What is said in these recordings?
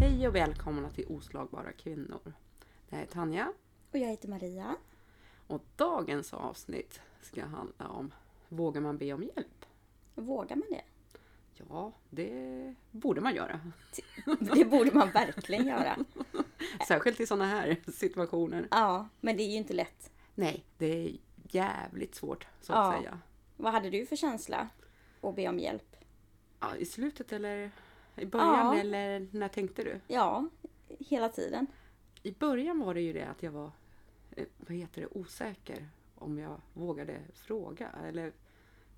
Hej och välkomna till Oslagbara kvinnor. Det här är Tanja Och jag heter Maria. och dagens avsnitt ska handla om Vågar man be om hjälp? Vågar man det? Ja, det borde man göra. Det borde man verkligen göra. Särskilt i sådana här situationer. Ja, men det är ju inte lätt. Nej, det är jävligt svårt så att Ja. säga. Vad hade du för känsla att be om hjälp? Ja, I slutet eller i början Ja. eller när tänkte du? Ja, hela tiden. I början var det ju det att jag var eh, vad heter det, osäker om jag vågade fråga eller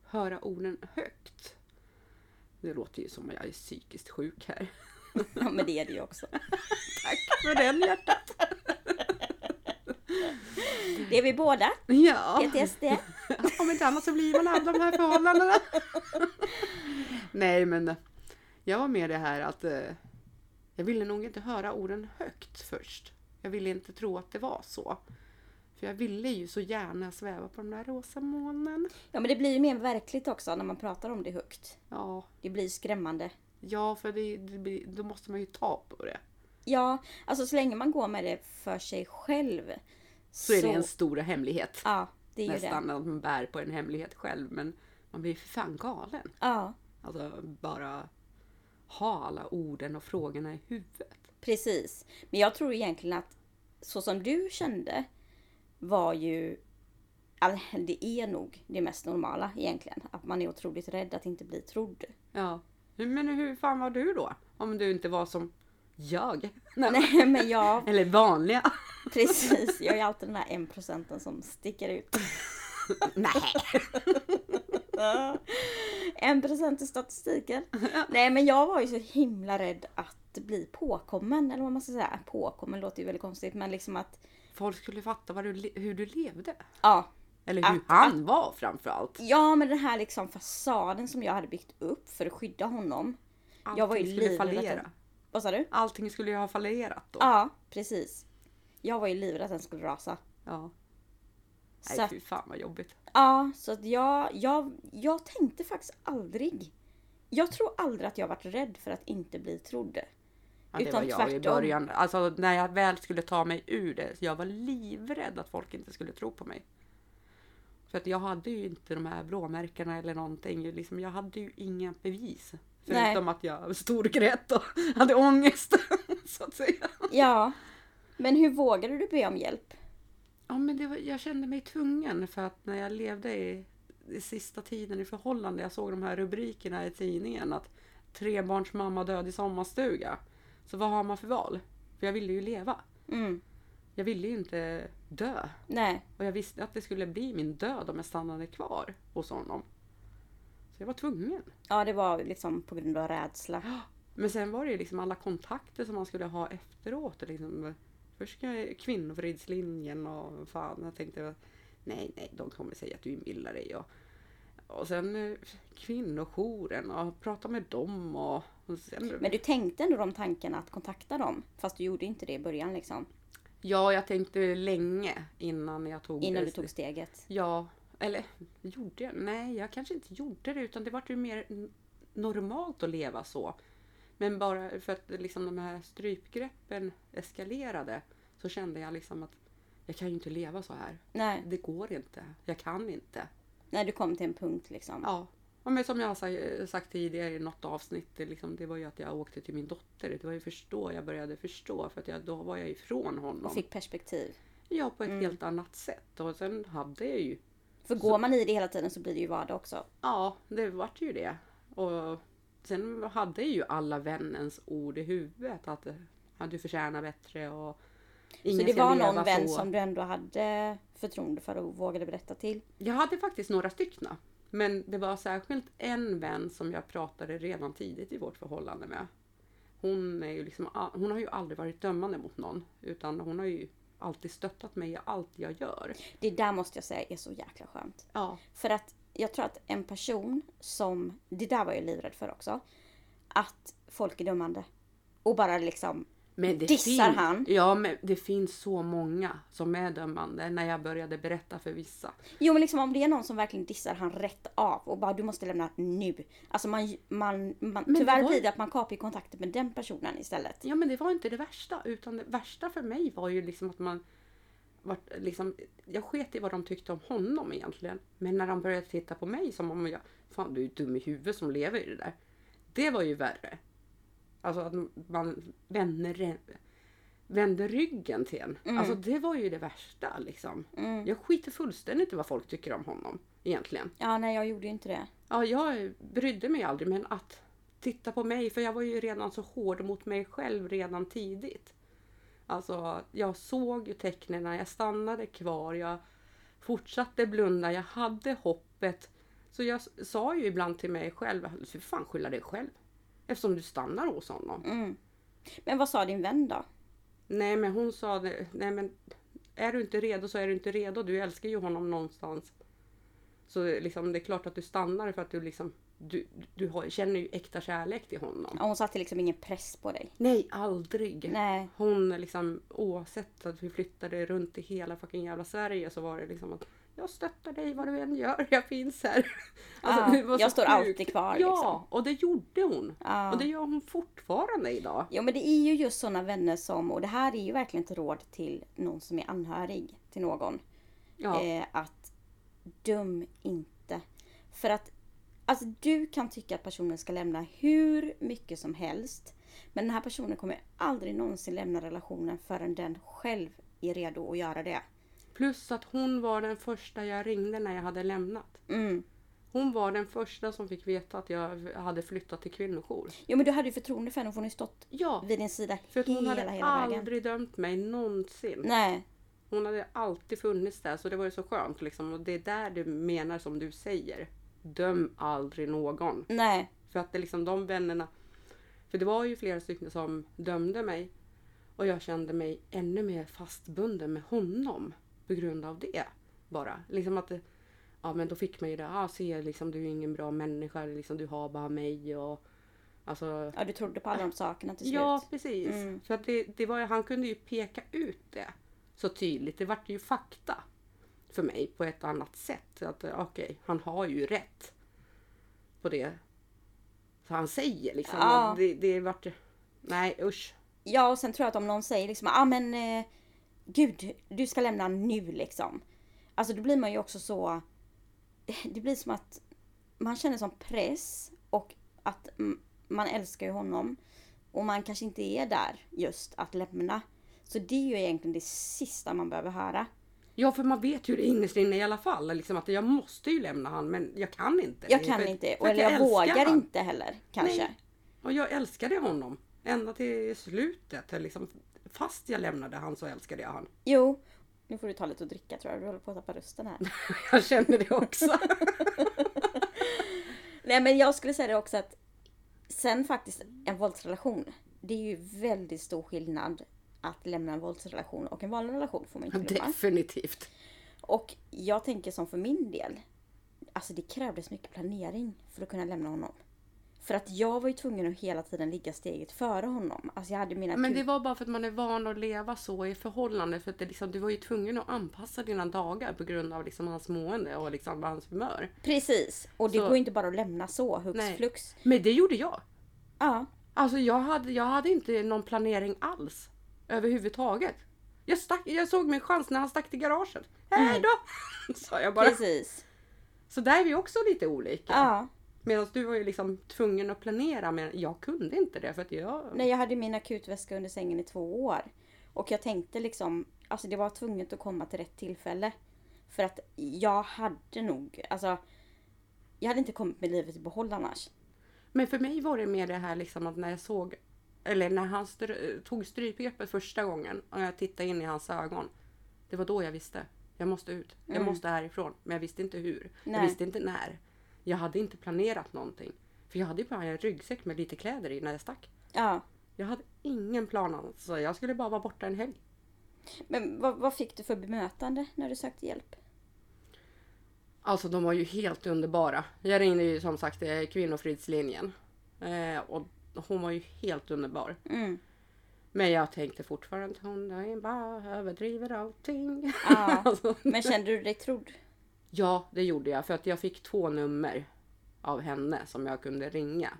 höra orden högt. Det låter ju som att jag är psykiskt sjuk här. Ja, men det är det ju också. Tack för den hjärtat! Det är vi båda. Ja, PTSD. om inte annat så blir man av de här förhållandena. Nej, men eh, jag var med det här att eh, jag ville nog inte höra orden högt först. Jag ville inte tro att det var så. För jag ville ju så gärna sväva på den där rosa molnen. Ja, men det blir ju mer verkligt också när man pratar om det högt. Ja, Det blir skrämmande. Ja, för det, det, blir- då måste man ju ta på det. Ja, alltså så länge man går med det för sig själv. Så är det en stor hemlighet. Ja, det är ju det. Nästan att man bär på en hemlighet själv. Men man blir för fan galen. Ja, Alltså bara ha alla orden och frågorna i huvudet. Precis. Men jag tror egentligen att så som du kände var ju... all- Det är nog det mest normala egentligen. Att man är otroligt rädd att inte bli trodd. Ja. Men hur fan var du då? Om du inte var som jag. Nej. Nej men jag... Eller vanliga. Precis. Jag är alltid den här en procenten som sticker ut. Nej. En procent i statistiken. Nej men jag var ju så himla rädd att bli påkommen. Eller vad man ska säga. Påkommen låter ju väldigt konstigt men liksom att... Folk skulle fatta vad du, le- hur du levde. Ja, Eller hur Att- han var framförallt. Ja, men den här liksom fasaden som jag hade byggt upp för att skydda honom. jag var ju Allting skulle livrädd. att- fallera. Vad sa du? Allting skulle ju ha fallerat då. Ja, precis. Jag var ju livrädd att den skulle rasa. Ja. Så Nej, att- fy fan vad jobbigt. Ja, så att jag, jag, jag tänkte faktiskt aldrig. Jag tror aldrig att jag varit rädd för att inte bli trodd. Ja, det Utan var jag i tvärtom. början. Alltså när jag väl skulle ta mig ur det. Så jag var livrädd att folk inte skulle tro på mig. För att jag hade ju inte de här blåmärkena eller någonting. Liksom, jag hade ju inga bevis. Nej. Förutom att jag storgrät och hade ångest. så att säga. Ja. Men hur vågade du be om hjälp? Ja, men det var, jag kände mig tvungen för att när jag levde i, i sista tiden i förhållande, jag såg de här rubrikerna i tidningen att trebarns mamma död i sommarstuga. Så vad har man för val? För jag ville ju leva. Mm, Jag ville ju inte dö. nej. Och jag visste att det skulle bli min död om jag stannade kvar hos honom. Så jag var tvungen. Ja, det var liksom på grund av rädsla. Men sen var det ju liksom alla kontakter som man skulle ha efteråt. Liksom. Först ska jag- kvinnofridslinjen och fan, jag tänkte nej, nej, de kommer säga att du inbillar dig. Och, och sen eh, kvinnojouren och prata med dem och, och sen, Men du tänkte ändå de tankarna att kontakta dem? Fast du gjorde inte det i början liksom. Ja, jag tänkte länge innan jag tog Innan du det- tog steget. Ja, eller gjorde jag? Nej, jag kanske inte gjorde det utan det var ju mer n- normalt att leva så. Men bara för att liksom de här strypgreppen eskalerade så kände jag liksom att jag kan ju inte leva så här. Nej. Det går inte. Jag kan inte. När du kom till en punkt liksom. Ja. Ja, Men som jag har sa- sagt tidigare i något avsnitt, det, liksom, det var ju att jag åkte till min dotter. Det var ju först då jag började förstå, för att jag, då var jag ifrån honom. Och fick perspektiv. Ja, på ett helt annat sätt. Och sen hade jag ju För går man i det hela tiden så blir det ju vardag också. Ja, det vart ju det. Och sen hade ju alla vännens ord i huvudet att ja, du förtjänar bättre och ingen Så det ska var leva någon vän så. som du ändå hade förtroende för och vågade berätta till. Jag hade faktiskt några stycken. Men det var särskilt en vän som jag pratade redan tidigt i vårt förhållande med. Hon, är ju liksom, a- hon har ju aldrig varit dömande mot någon. Utan hon har ju alltid stöttat mig i allt jag gör. Det där måste jag säga är så jäkla skönt. Ja, För att jag tror att en person som, det där var jag livrädd för också, att folk är dömande. Och bara liksom Men det Dissar finns, han? Ja, men det finns så många som är dömande när jag började berätta för vissa. Jo men liksom om det är någon som verkligen dissar han rätt av och bara du måste lämna nu. Alltså man, man, man det tyvärr var- blir det att man kapar ju kontakten med den personen istället. Ja, men det var inte det värsta, utan det värsta för mig var ju liksom att man vart, liksom, jag sket i vad de tyckte om honom egentligen. Men när de började titta på mig som om jag, fan du är ju dum i huvudet som lever i det där. Det var ju värre. Alltså att man vände, vände ryggen till en. Alltså det var ju det värsta liksom. Mm. Jag skiter fullständigt i vad folk tycker om honom egentligen. Ja nej jag gjorde ju inte det. Ja, jag brydde mig aldrig men att titta på mig, för jag var ju redan så hård mot mig själv redan tidigt. Alltså, jag såg ju tecknen, jag stannade kvar, jag fortsatte blunda, jag hade hoppet. Så jag s- sa ju ibland till mig själv, "Du får fan skylla dig själv. Eftersom du stannar hos honom. Mm. Men vad sa din vän då? Nej men hon sa det, nej men är du inte redo så är du inte redo. Du älskar ju honom någonstans. Så liksom, det är klart att du stannar för att du liksom, du, du har, känner ju äkta kärlek till honom. Ja, Hon satte liksom ingen press på dig. Nej, aldrig! Nej. Hon liksom, oavsett att vi flyttade runt i hela fucking jävla Sverige så var det liksom att jag stöttar dig vad du än gör, jag finns här. Alltså, Ja, det var så Ah, jag står alltid kvar, Ja, liksom. och det gjorde hon. Ja. Och det gör hon fortfarande idag. Ja men det är ju just sådana vänner som, och det här är ju verkligen ett råd till någon som är anhörig till någon. Ja, Eh, att döm inte. För att alltså, du kan tycka att personen ska lämna hur mycket som helst. Men den här personen kommer aldrig någonsin lämna relationen förrän den själv är redo att göra det. Plus att hon var den första jag ringde när jag hade lämnat. Mm. Hon var den första som fick veta att jag hade flyttat till kvinnojour. Jo men du hade ju förtroende för henne, för hon har ju stått Ja, vid din sida för att hela, hon hade hela vägen. aldrig dömt mig någonsin. Nej, Hon hade alltid funnits där så det var ju så skönt liksom. Och det är där du menar som du säger. Döm aldrig någon. nej. För att det är liksom de vännerna. För det var ju flera stycken som dömde mig. Och jag kände mig ännu mer fastbunden med honom. På grund av det. Bara. Liksom att det, Ja men då fick man ju det. Ah, se liksom du är ingen bra människa. Liksom, du har bara mig och... Alltså... Ja, du trodde på alla de sakerna till slut. Ja precis. Mm. För att det, det var, ju- han kunde ju peka ut det. Så tydligt. Det vart ju fakta. För mig på ett annat sätt. Att eh, okej, han har ju rätt. På det. Så han säger liksom. Ja. Det, det vart... Nej usch. Ja, och sen tror jag att om någon säger liksom, ah men eh, gud, du ska lämna nu liksom. Alltså då blir man ju också så, det blir som att man känner som press och att mm, man älskar ju honom. Och man kanske inte är där just att lämna. Så det är ju egentligen det sista man behöver höra. Ja för man vet ju det innerst inne i alla fall. Liksom att jag måste ju lämna han men jag kan inte. Jag Det är kan Eh, för- inte, för och att eller jag, älskar vågar han. inte heller kanske. Nej. Och jag älskade honom. Ända till slutet. Liksom, fast jag lämnade han så älskade jag han. Jo, nu får du ta lite att dricka tror jag, du håller på att tappa rösten här. Jag känner det också. Nej men jag skulle säga det också att sen faktiskt en våldsrelation. Det är ju väldigt stor skillnad att lämna en våldsrelation och en vanlig relation får man inte glömma. Definitivt. Och jag tänker som för min del. Alltså det krävdes mycket planering för att kunna lämna honom. För att jag var ju tvungen att hela tiden ligga steget före honom. Alltså jag hade mina Men det kul- var bara för att man är van att leva så i förhållande. För att det liksom, du var ju tvungen att anpassa dina dagar på grund av liksom hans mående och liksom hans humör. Precis! Och det Så- går ju inte bara att lämna så hux Nej. flux. Men det gjorde jag. Ja. Alltså jag hade, jag hade inte någon planering alls. Överhuvudtaget. Jag, stack, jag såg min chans när han stack till garaget. Hej då! Sa jag bara. Precis. Så där är vi också lite olika. Ja. Medan du var ju liksom tvungen att planera men jag kunde inte det för att jag... Nej, jag hade min akutväska under sängen i två år. Och jag tänkte liksom, alltså det var tvunget att komma till rätt tillfälle. För att jag hade nog, alltså. Jag hade inte kommit med livet i behåll annars. Men för mig var det mer det här liksom att när jag såg, eller när han str- tog strypgreppet första gången och jag tittade in i hans ögon. Det var då jag visste. Jag måste ut. Jag måste härifrån. Men jag visste inte hur. Jag Nej. visste inte när. Jag hade inte planerat någonting. För jag hade ju bara en ryggsäck med lite kläder i när jag stack. Ja. Jag hade ingen plan alls. Så jag skulle bara vara borta en helg. Men vad, vad fick du för bemötande när du sökte hjälp? Alltså de var ju helt underbara. Jag ringde ju som sagt eh, Kvinnofridslinjen. Eh, och hon var ju helt underbar. Mm. Men jag tänkte fortfarande att hon är bara överdriver allting. Ja. Alltså, Men kände du dig trodd? ja, det gjorde jag för att jag fick två nummer av henne som jag kunde ringa.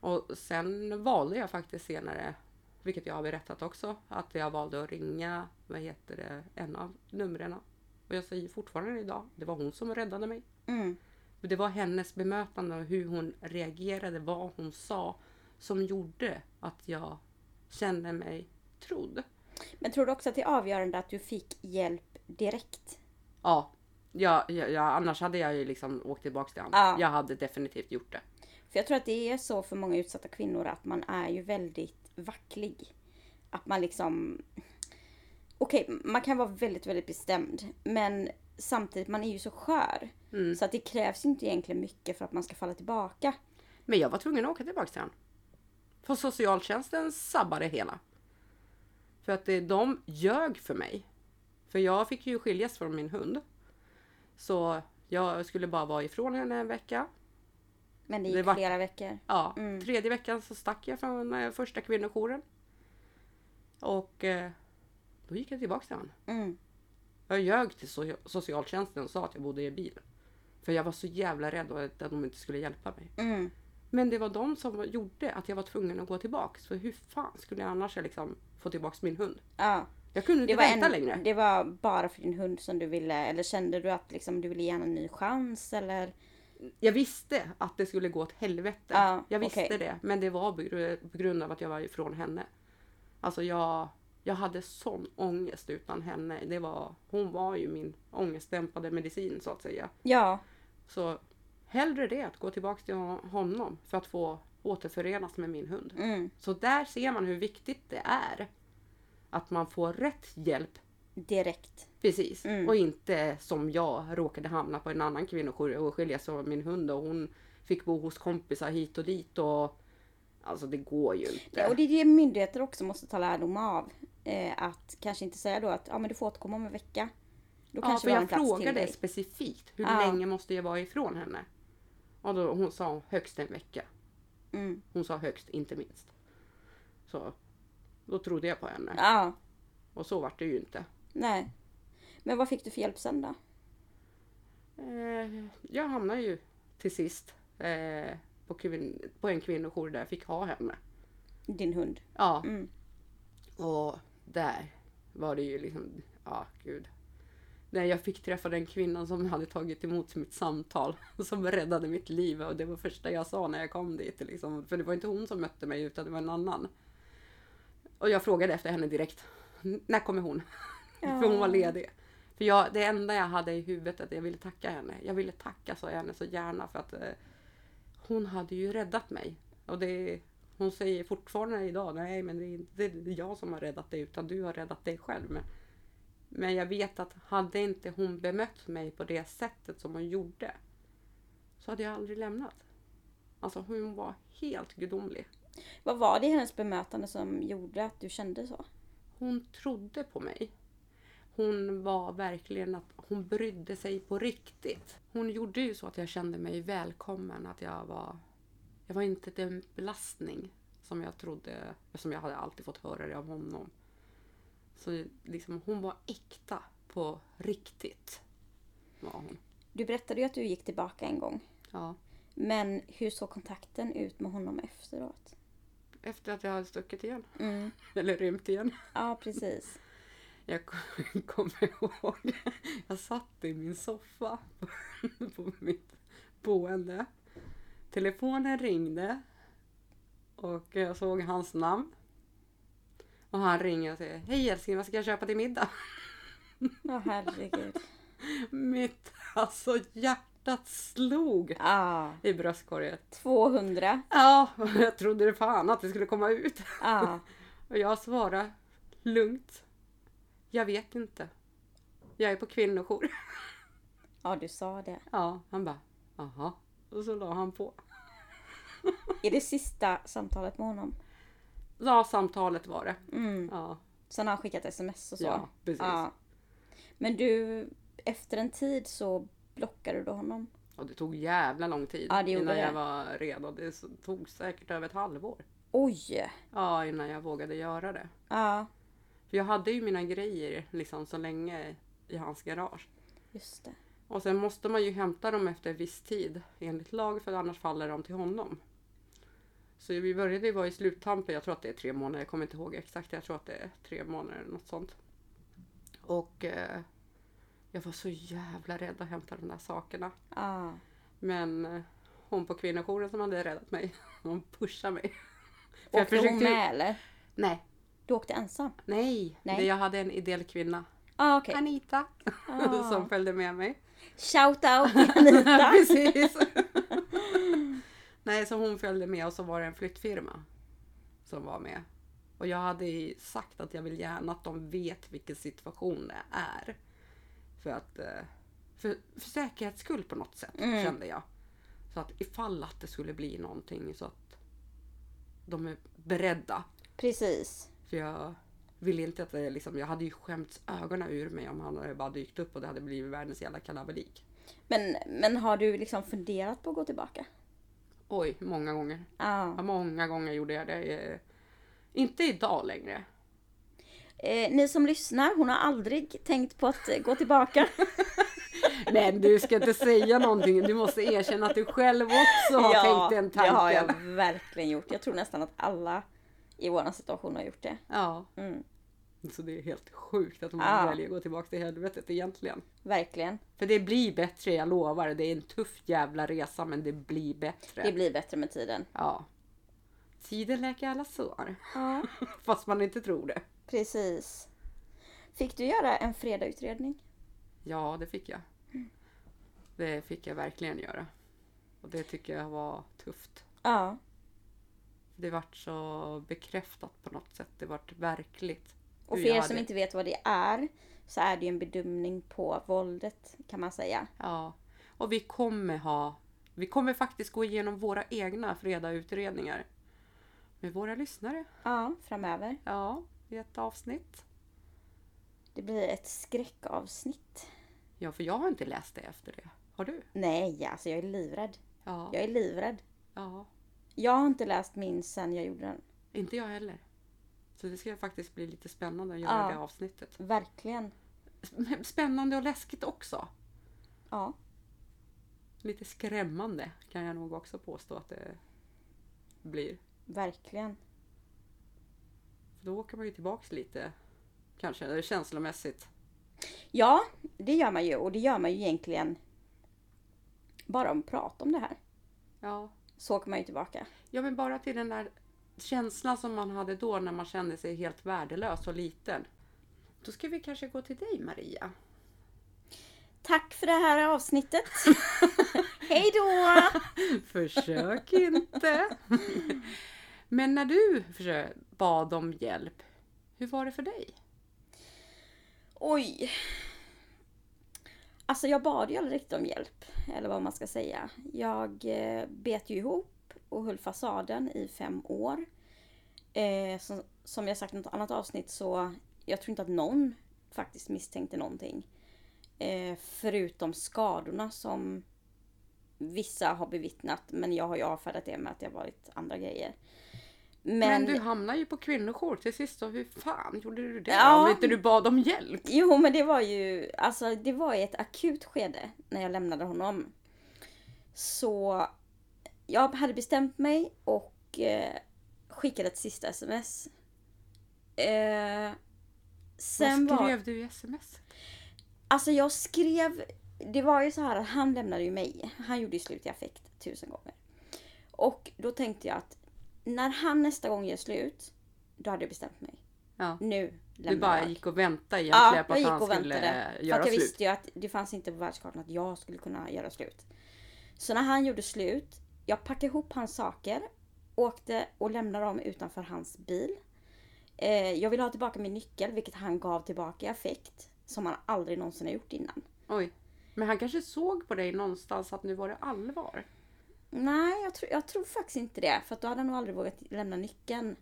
Och sen valde jag faktiskt senare, vilket jag har berättat också, att jag valde att ringa, vad heter det, en av numren. Och jag säger fortfarande idag, det var hon som räddade mig. Mm. Det var hennes bemötande och hur hon reagerade, vad hon sa som gjorde att jag kände mig trodd. Men tror du också att det är avgörande att du fick hjälp direkt? Ja, ja, ja, ja annars hade jag ju liksom åkt tillbaks till honom. Ja. Jag hade definitivt gjort det. För jag tror att det är så för många utsatta kvinnor att man är ju väldigt vacklig. Att man liksom... Okej, man kan vara väldigt, väldigt bestämd. Men samtidigt, man är ju så skör. Mm. Så att det krävs ju inte egentligen mycket för att man ska falla tillbaka. Men jag var tvungen att åka tillbaks till honom. För socialtjänsten sabbade hela. För att det, de ljög för mig. För jag fick ju skiljas från min hund. Så jag skulle bara vara ifrån henne en vecka. Men det Det gick var- flera veckor. Ja, Mm. tredje veckan så stack jag från eh, första kvinnojouren. Och eh, då gick jag tillbaka till honom. Mm. Jag ljög till so- socialtjänsten och sa att jag bodde i bil. För jag var så jävla rädd att att de inte skulle hjälpa mig. Mm. Men det var de som gjorde att jag var tvungen att gå tillbaks. För hur fan skulle jag annars liksom få tillbaks min hund? Ja. Jag kunde inte Det var, vänta längre. en, det var bara för din hund som du ville, eller kände du att liksom, du ville ge henne en ny chans eller? Jag visste att det skulle gå åt helvete. Ja, jag visste okej. det. Men det var begr- på grund av att jag var ifrån henne. Alltså jag, jag hade sån ångest utan henne. Det var, hon var ju min ångestdämpade medicin så att säga. Ja, Så hellre det, att gå tillbaka till hon- honom för att få återförenas med min hund. mm. Så där ser man hur viktigt det är. Att man får rätt hjälp direkt. Precis. Mm. Och inte som jag råkade hamna på en annan kvinnojour och skiljas av min hund och hon fick bo hos kompisar hit och dit och Alltså det går ju inte. Och det är det myndigheter också måste ta lärdom av. Eh, att kanske inte säga då att ja, men du får återkomma om en vecka. Då ja, kanske för vi har en jag plats till frågade dig. specifikt hur Ja. länge måste jag vara ifrån henne? Och då, hon sa högst en vecka. Mm. Hon sa högst, inte minst. Så då trodde jag på henne. Ja, Och så vart det ju inte. nej. Men vad fick du för hjälp sen då? Eh, jag hamnade ju till sist eh, på, kvin- på en kvinnojour där jag fick ha henne. Din hund. Ja. Mm. Och där var det ju liksom, ja gud. När jag fick träffa den kvinnan som hade tagit emot mitt samtal som räddade mitt liv och det var första jag sa när jag kom dit. Liksom. För det var inte hon som mötte mig utan det var en annan. Och jag frågade efter henne direkt. "N- När kommer hon? För hon var ledig. För jag, det enda jag hade i huvudet att jag ville tacka henne. Jag ville tacka så henne så gärna för att eh, hon hade ju räddat mig. Och det, hon säger fortfarande idag, nej men det är inte det är jag som har räddat dig utan du har räddat dig själv. Men, men jag vet att hade inte hon bemött mig på det sättet som hon gjorde så hade jag aldrig lämnat. Alltså hon var helt gudomlig. Vad var det i hennes bemötande som gjorde att du kände så? Hon trodde på mig. Hon var verkligen att hon brydde sig på riktigt. Hon gjorde ju så att jag kände mig välkommen, att jag var... Jag var inte den belastning som jag trodde, som jag hade alltid fått höra det av honom. Så liksom, hon var äkta på riktigt. Var hon. Du berättade ju att du gick tillbaka en gång. Ja. Men hur såg kontakten ut med honom efteråt? Efter att jag hade stuckit igen, Mm. eller rymt igen. Ja, precis. Jag kom- kommer ihåg, jag satt i min soffa på mitt boende. Telefonen ringde och jag såg hans namn. Och han ringer och säger Hej älskling, vad ska jag köpa till middag? Ja, herregud. Mitt alltså hjärtat slog Ja, i bröstkorgen. 200. Ja, och jag trodde det fan att det skulle komma ut. Ja, Och jag svarade lugnt. Jag vet inte. Jag är på kvinnojour. ja du sa det. Ja, han bara aha. Och så la han på. Är det sista samtalet med honom? Ja, samtalet var det. Mm. Ja, Sen har han skickat sms och så? ja precis. Ja. Men du, efter en tid så blockade du då honom? Och det tog jävla lång tid Ja, det gjorde innan det. jag var redo. Det s- tog säkert över ett halvår. Oj! Ja, innan jag vågade göra det. Ja, För jag hade ju mina grejer liksom så länge i hans garage. just det. Och sen måste man ju hämta dem efter viss tid enligt lag för annars faller de till honom. Så vi började ju vara i sluttampen, jag tror att det är tre månader, jag kommer inte ihåg exakt, jag tror att det är tre månader eller något sånt. Och eh, jag var så jävla rädd att hämta de där sakerna. Ja, Men eh, hon på kvinnojouren som hade räddat mig, hon pushade mig. För jag Åkte hon försökte ju- med eller? Nej, Du åkte ensam? nej, Nej. Det- jag hade en ideell kvinna, Ah, okej. Anita, Ah. som följde med mig. Shout out Anita! Precis. Nej, så hon följde med och så var det en flyttfirma som var med. Och jag hade ju sagt att jag vill gärna att de vet vilken situation det är. För att... eh, För, för säkerhets skull på något sätt Mm. kände jag. Så att ifall att det skulle bli någonting så att de är beredda. Precis. För jag ville inte att det liksom... Jag hade ju skämts ögonen ur mig om han hade bara dykt upp och det hade blivit världens jävla kalabalik. Men, men har du liksom funderat på att gå tillbaka? Oj, många gånger. Ja. Ja, många gånger gjorde jag det. Eh, Inte idag längre. Eh, ni som lyssnar, hon har aldrig tänkt på att eh, gå tillbaka. Men du ska inte säga någonting. Du måste erkänna att du själv också har tänkt den det tanken. har jag verkligen gjort. Jag tror nästan att alla i vår situation har gjort det. Ja, Mm, så det är helt sjukt att man Ja. väljer att gå tillbaka till helvetet egentligen. verkligen. För det blir bättre, jag lovar. Det är en tuff jävla resa, men det blir bättre. Det blir bättre med tiden. Ja. Tiden läker alla sår. Ja, Fast man inte tror det. precis. Fick du göra en fredagsutredning? Ja, det fick jag. Det fick jag verkligen göra. Och det tycker jag var tufft. Ja, Det vart så bekräftat på något sätt. Det vart verkligt. och Hur för jag er hade- som inte vet vad det är så är det ju en bedömning på våldet kan man säga. Ja. Och vi kommer ha... Vi kommer faktiskt gå igenom våra egna fredagsutredningar. Med våra lyssnare. Ja, framöver. Ja, i ett avsnitt. Det blir ett skräckavsnitt. Ja, för jag har inte läst det efter det. Har du? Nej, alltså jag är livrädd. Ja. Jag är livrädd. ja. Jag har inte läst min sen jag gjorde den. Inte jag heller. Så det ska faktiskt bli lite spännande att göra Ja. det avsnittet. Verkligen. Men Spännande och läskigt också. Ja. Lite skrämmande kan jag nog också påstå att det blir. Verkligen. För då åker man ju tillbaks lite. Kanske, eller känslomässigt. Ja, det gör man ju och det gör man ju egentligen bara om prata om det här. Ja. Så åker man ju tillbaka. ja, men bara till den där känslan som man hade då när man kände sig helt värdelös och liten. Då ska vi kanske gå till dig Maria. Tack för det här avsnittet. Hej då! Försök inte! men när du försö- bad om hjälp, hur var det för dig? Oj. Alltså jag bad ju aldrig riktigt om hjälp. Eller vad man ska säga. Jag eh, bet ju ihop och höll fasaden i fem år. Eh, som, som jag sagt i något annat avsnitt så jag tror inte att någon faktiskt misstänkte någonting. Eh, förutom skadorna som vissa har bevittnat. Men jag har ju avfärdat det med att det har varit andra grejer. Men, Men, du hamnade ju på kvinnojour till sist och hur fan gjorde du det? Ja. Om inte du bad om hjälp? Jo men det var ju, alltså det var i ett akut skede när jag lämnade honom. Så jag hade bestämt mig och eh, skickade ett sista sms. Eh, sen Vad var, skrev du i sms? alltså jag skrev, det var ju så här att han lämnade ju mig. Han gjorde ju slut i affekt tusen gånger. Och då tänkte jag att när han nästa gång gör slut, då hade jag bestämt mig. Ja. Nu lämnar Du bara jag. gick och väntade egentligen Ja, på jag att gick han och skulle väntade. För göra att jag slut. visste ju att det fanns inte på världskartan att jag skulle kunna göra slut. Så när han gjorde slut, jag packade ihop hans saker, åkte och lämnade dem utanför hans bil. Eh, jag ville ha tillbaka min nyckel, vilket han gav tillbaka i affekt. Som han aldrig någonsin har gjort innan. Oj. Men han kanske såg på dig någonstans att nu var det allvar. Nej, jag, tror- jag tror faktiskt inte det. För att då hade han nog aldrig vågat lämna nyckeln.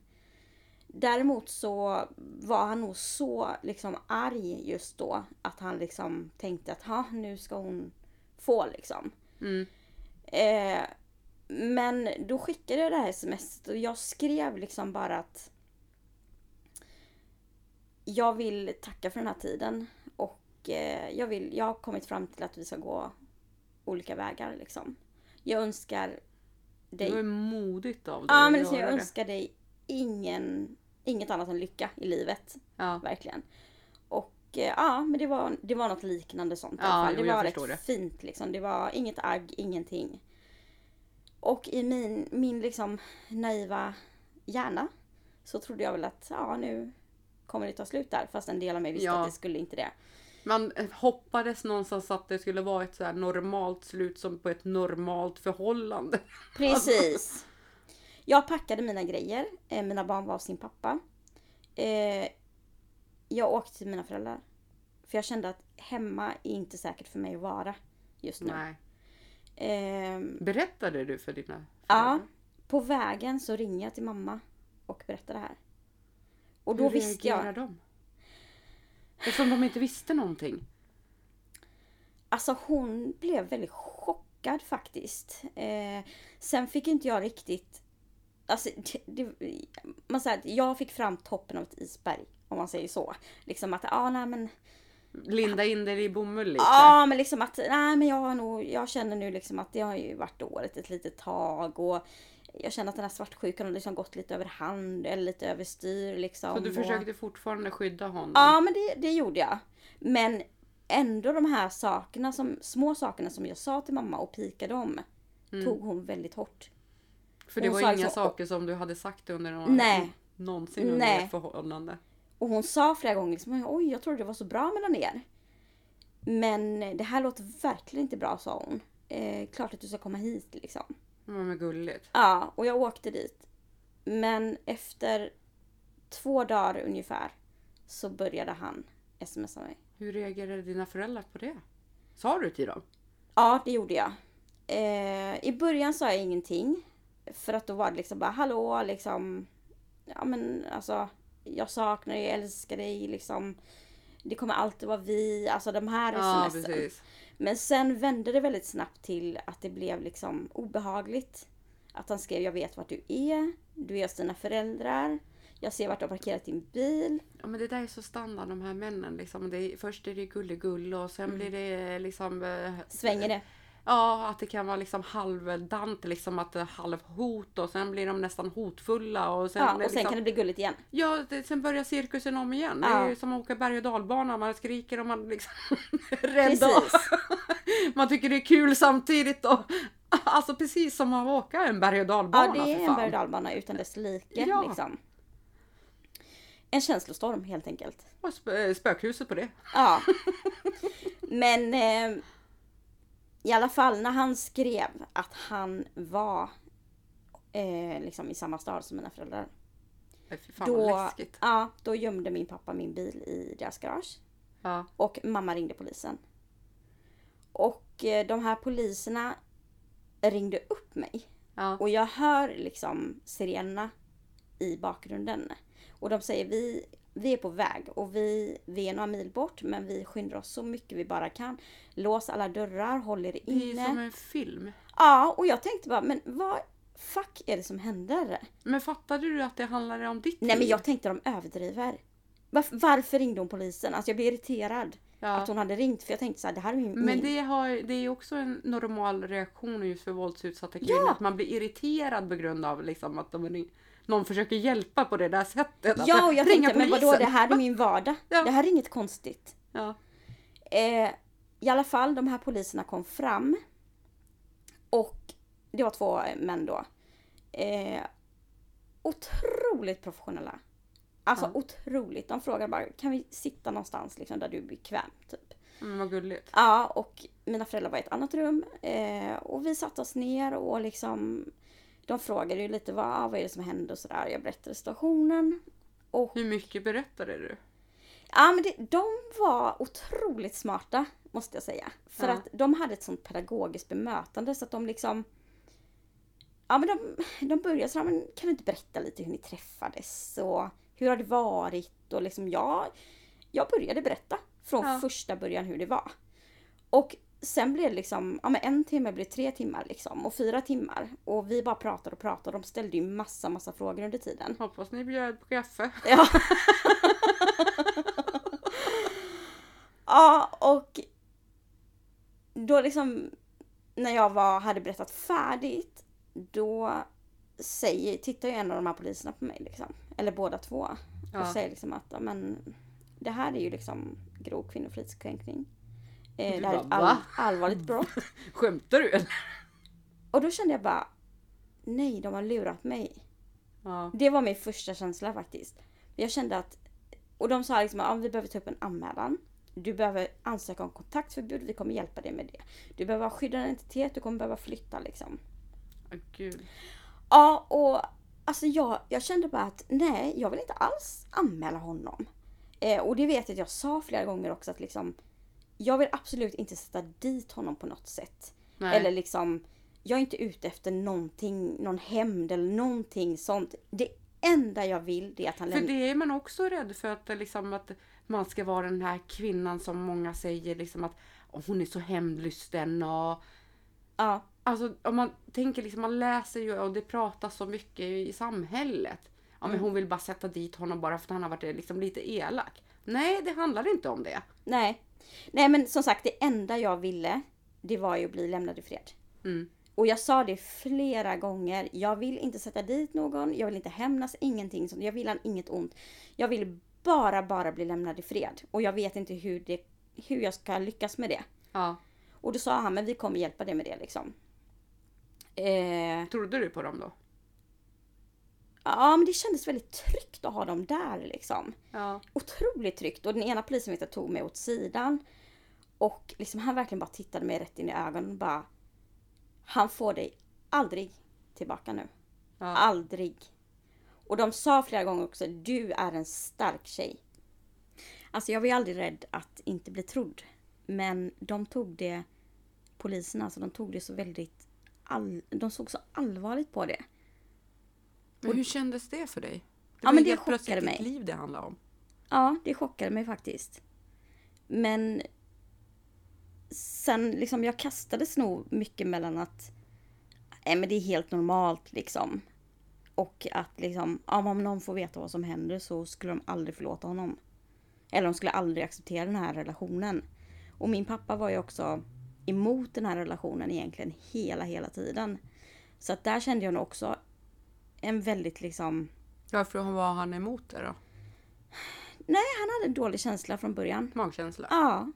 Däremot så var han nog så liksom arg just då att han liksom tänkte att "Ha, nu ska hon få liksom. Mm. Eh, Men då skickade jag det här smset och jag skrev liksom bara att jag vill tacka för den här tiden och eh, jag, vill, jag har kommit fram till att vi ska gå olika vägar liksom. Jag önskar Det dig var ju modigt av dig Ja att men liksom, göra jag det. önskar dig ingen, inget annat än lycka i livet. Ja. Verkligen. Och eh, ja, men det var, det var något liknande sånt i Ja, alla fall. jo, Det jag var förstår rätt det. fint liksom. Det var inget agg, ingenting. Och i min, min liksom naiva hjärna så trodde jag väl att ja, nu kommer det ta slut där. Fast en del av mig visste Ja. att det skulle inte det. Man eh, hoppades någonstans att det skulle vara ett så här normalt slut som på ett normalt förhållande. Precis. Jag packade mina grejer. Eh, Mina barn var hos sin pappa. Eh, Jag åkte till mina föräldrar. För jag kände att hemma är inte säkert för mig att vara just nu. Nej. Ehm, Berättade du för dina Ja. föräldrar? På vägen så ringer jag till mamma och berättar det här. Och då Hur visste reagerar jag. de? Eftersom de inte visste någonting. Alltså hon blev väldigt chockad faktiskt. Eh, sen fick inte jag riktigt. Alltså, det, det, man säger att jag fick fram toppen av ett isberg. Om man säger så. Liksom att, ah, nej men. Linda in dig i bomull lite. Ja men liksom att, nej men jag har nog, jag känner nu liksom att det har ju varit dåligt ett litet tag och jag känner att den här svartsjukan har liksom gått lite över hand eller lite överstyr liksom. Så du och- försökte fortfarande skydda honom? Ja, men det, det gjorde jag. Men ändå de här sakerna, som, små sakerna som jag sa till mamma och pikade om, tog hon väldigt hårt. För det Hon var sa inga liksom- saker som du hade sagt under någon, Nej. någonsin under Nej. ett förhållande. Och hon sa flera gånger liksom, oj jag trodde det var så bra mellan er. Men det här låter verkligen inte bra sa hon. Eh, klart att du ska komma hit liksom. Men vad gulligt. Ja, och jag åkte dit. Men efter två dagar ungefär så började han smsa mig. Hur reagerade dina föräldrar på det? Sa du till dem? Ja, det gjorde jag. Eh, I början sa jag ingenting. För att då var det liksom bara hallå liksom. Ja men alltså. Jag saknar dig, jag älskar dig liksom. Det kommer alltid vara vi. Alltså de här Ja, sms'en. precis. Men sen vände det väldigt snabbt till att det blev liksom obehagligt. Att han skrev jag vet vart du är. Du är hos dina föräldrar. Jag ser vart du har parkerat din bil. Ja, men det där är så standard de här männen. Liksom. Det är, först är det gulligull och sen blir det liksom... eh, Svänger det? Ja, att det kan vara liksom halvdant, liksom att det är halvhot och sen blir de nästan hotfulla och sen... Ja, är och sen liksom, kan det bli gulligt igen. ja, det, sen börjar cirkusen om igen. Det Ja. är ju som att åka berg och dalbana, man skriker och man liksom är rädd. Precis. Och, man tycker det är kul samtidigt. Och, alltså precis som att åka en berg och dalbana. Ja, det för är en fan. berg och dalbana utan dess like. Ja. Liksom. En känslostorm helt enkelt. Och sp- spökhuset på det. Ja. Men eh, i alla fall när han skrev att han var eh, liksom i samma stad som mina föräldrar. Nej, Fy fan vad Då, läskigt. ja, då gömde min pappa min bil i deras garage. Ja. Och mamma ringde polisen. Och eh, de här poliserna ringde upp mig. Ja. Och jag hör liksom sirenerna i bakgrunden. Och de säger vi, vi är på väg och vi, vi är några mil bort men vi skyndar oss så mycket vi bara kan. Lås alla dörrar, håll er Det är ju inne. som en film. Ja, och jag tänkte bara men vad fuck är det som händer? Men fattade du att det handlade om ditt Nej men liv? jag tänkte de överdriver. Varför, varför ringde hon polisen? Alltså jag blev irriterad Ja. att hon hade ringt för jag tänkte så här, det här är min... Men alltså, min... det, har, det är ju också en normal reaktion just för våldsutsatta kvinnor. Ja. Att man blir irriterad på grund av liksom att de är, någon försöker hjälpa på det där sättet. Att Ja och jag ringa tänkte men vadå polisen. det här är min vardag. Ja. Det här är inget konstigt. Ja. Eh, I alla fall, de här poliserna kom fram. Och det var två män då. Eh, otroligt professionella. Alltså Ja. otroligt. De frågade bara, kan vi sitta någonstans liksom, där du är bekväm? Typ. Men Mm, vad gulligt. Ja, och mina föräldrar var i ett annat rum. Eh, och vi satte oss ner och liksom... De frågade ju lite vad, ah, vad är det som hände och sådär. Jag berättade situationen. Och Hur mycket berättade du? Ja, men det, de var otroligt smarta måste jag säga. För Ja. att de hade ett sånt pedagogiskt bemötande så att de liksom... Ja men de, de började sådär, men kan du inte berätta lite hur ni träffades och hur har det varit och liksom jag... Jag började berätta från Ja. första början hur det var. Och sen blev det liksom, ja men en timme blev tre timmar liksom och fyra timmar. Och vi bara pratade och pratade. De ställde ju massa, massa frågor under tiden. Hoppas ni bjöd på kaffe. Ja. ja, och då liksom när jag var, hade berättat färdigt, då säger, tittar ju en av de här poliserna på mig liksom. Eller båda två. Och Ja. säger liksom att, ja, men det här är ju liksom grov kvinnofridskränkning. Eh, Du det här är ett bara, all, "Va?" allvarligt brott. Skämtar du eller? Och då kände jag bara, nej de har lurat mig. Ja. Det var min första känsla faktiskt. Jag kände att, och de sa liksom att ah, vi behöver ta upp en anmälan. Du behöver ansöka om kontaktförbud, vi kommer hjälpa dig med det. Du behöver ha skyddad identitet, du kommer behöva flytta liksom. Åh, Gud. Ja, och alltså jag, jag kände bara att nej, jag vill inte alls anmäla honom. Eh, och det vet jag att jag sa flera gånger också att liksom, jag vill absolut inte sätta dit honom på något sätt. Nej. Eller liksom, jag är inte ute efter någonting, någon hämnd eller någonting sånt. Det enda jag vill det är att han För lämnar. det är man också rädd för att, det liksom, att man ska vara den här kvinnan som många säger liksom att "Åh, hon är så hämndlysten och Ja, Alltså om man tänker liksom, man läser ju och det pratas så mycket i samhället. Ja men hon vill bara sätta dit honom bara för att han har varit eh, liksom, lite elak. Nej, det handlar inte om det. nej. Nej men som sagt, det enda jag ville, det var ju att bli lämnad i fred. Mm. Och jag sa det flera gånger. Jag vill inte sätta dit någon. Jag vill inte hämnas. Ingenting sånt. Jag vill han inget ont. Jag vill bara, bara bli lämnad i fred. Och jag vet inte hur, det, hur jag ska lyckas med det. Ja. Och då sa han, men vi kommer hjälpa dig med det liksom. Eh, Trodde du på dem då? ja, men det kändes väldigt tryggt att ha dem där liksom. Ja. Otroligt tryggt. Och den ena polisen vet jag tog mig åt sidan. Och liksom han verkligen bara tittade mig rätt in i ögonen och bara. Han får dig aldrig tillbaka nu. ja. Aldrig. Och de sa flera gånger också, du är en stark tjej. Alltså jag var ju aldrig rädd att inte bli trodd. Men de tog det, poliserna, alltså de tog det så väldigt, all, de såg så allvarligt på det. Men hur kändes det för dig? Ja, men var ju det helt plötsligt chockade ditt mig. liv det handlade om. Ja, det chockade mig faktiskt. Men sen liksom, jag kastades nog mycket mellan att nej men det är helt normalt liksom. Och att liksom, ja, men om någon får veta vad som händer så skulle de aldrig förlåta honom. Eller de skulle aldrig acceptera den här relationen. Och min pappa var ju också emot den här relationen egentligen hela, hela tiden. Så att där kände jag nog också en väldigt liksom, Varför var han emot det då? nej han hade en dålig känsla från början. Magkänsla. Ja.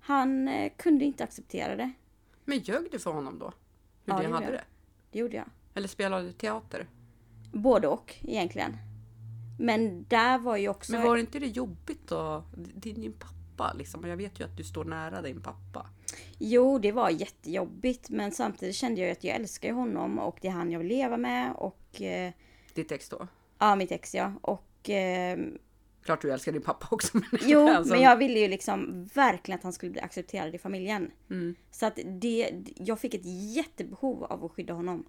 Han eh, kunde inte acceptera det. Men ljög du för honom då? Hur Ja, det det gjorde hade jag. det? Det gjorde jag. Eller spelade du teater? Både och egentligen. Men där var ju också... Men var inte det jobbigt då? Det är din pappa liksom. Och jag vet ju att du står nära din pappa. Jo, det var jättejobbigt. Men samtidigt kände jag ju att jag älskar ju honom och det är han jag vill leva med. Och... Eh, Ditt ex då? ja, mitt ex ja. Och... Eh, Klart du älskar din pappa också. Men jo, alltså, men jag ville ju liksom verkligen att han skulle bli accepterad i familjen. Mm. Så att det... Jag fick ett jättebehov av att skydda honom.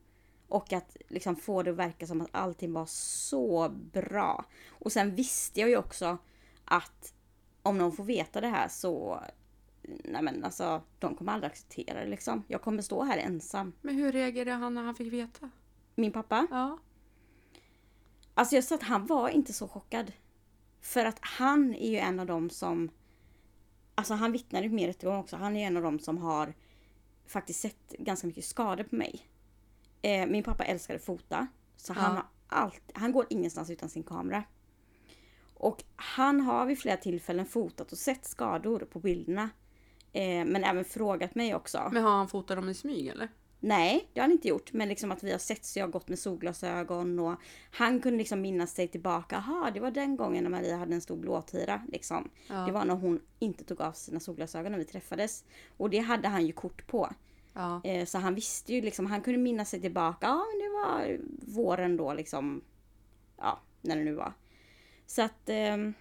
Och att liksom få det att verka som att allting var så bra. Och sen visste jag ju också att om någon får veta det här så... Nej men alltså, de kommer aldrig acceptera det liksom. Jag kommer stå här ensam. men hur reagerade han när han fick veta? Min pappa. Ja. Alltså jag sa att han var inte så chockad. För att han är ju en av dem som... Alltså han vittnade ju på min rättegång också. Han är ju en av dem som har faktiskt sett ganska mycket skador på mig. Eh, min pappa älskade att fota. Så han Ja. har allt, han går ingenstans utan sin kamera. Och han har vid flera tillfällen fotat och sett skador på bilderna. Eh, men även frågat mig också. Men har han fotat dem i smyg eller? Nej, det har han inte gjort. Men liksom att vi har sett så jag har gått med solglasögon och han kunde liksom minnas sig tillbaka. Aha, det var den gången när Maria hade en stor blåtira. Liksom. Ja. Det var när hon inte tog av sina solglasögon när vi träffades. Och det hade han ju kort på. Ja. Eh, så han visste ju liksom, han kunde minnas sig tillbaka. Ja, men det var våren då liksom. Ja, när det nu var. Så att, ehm,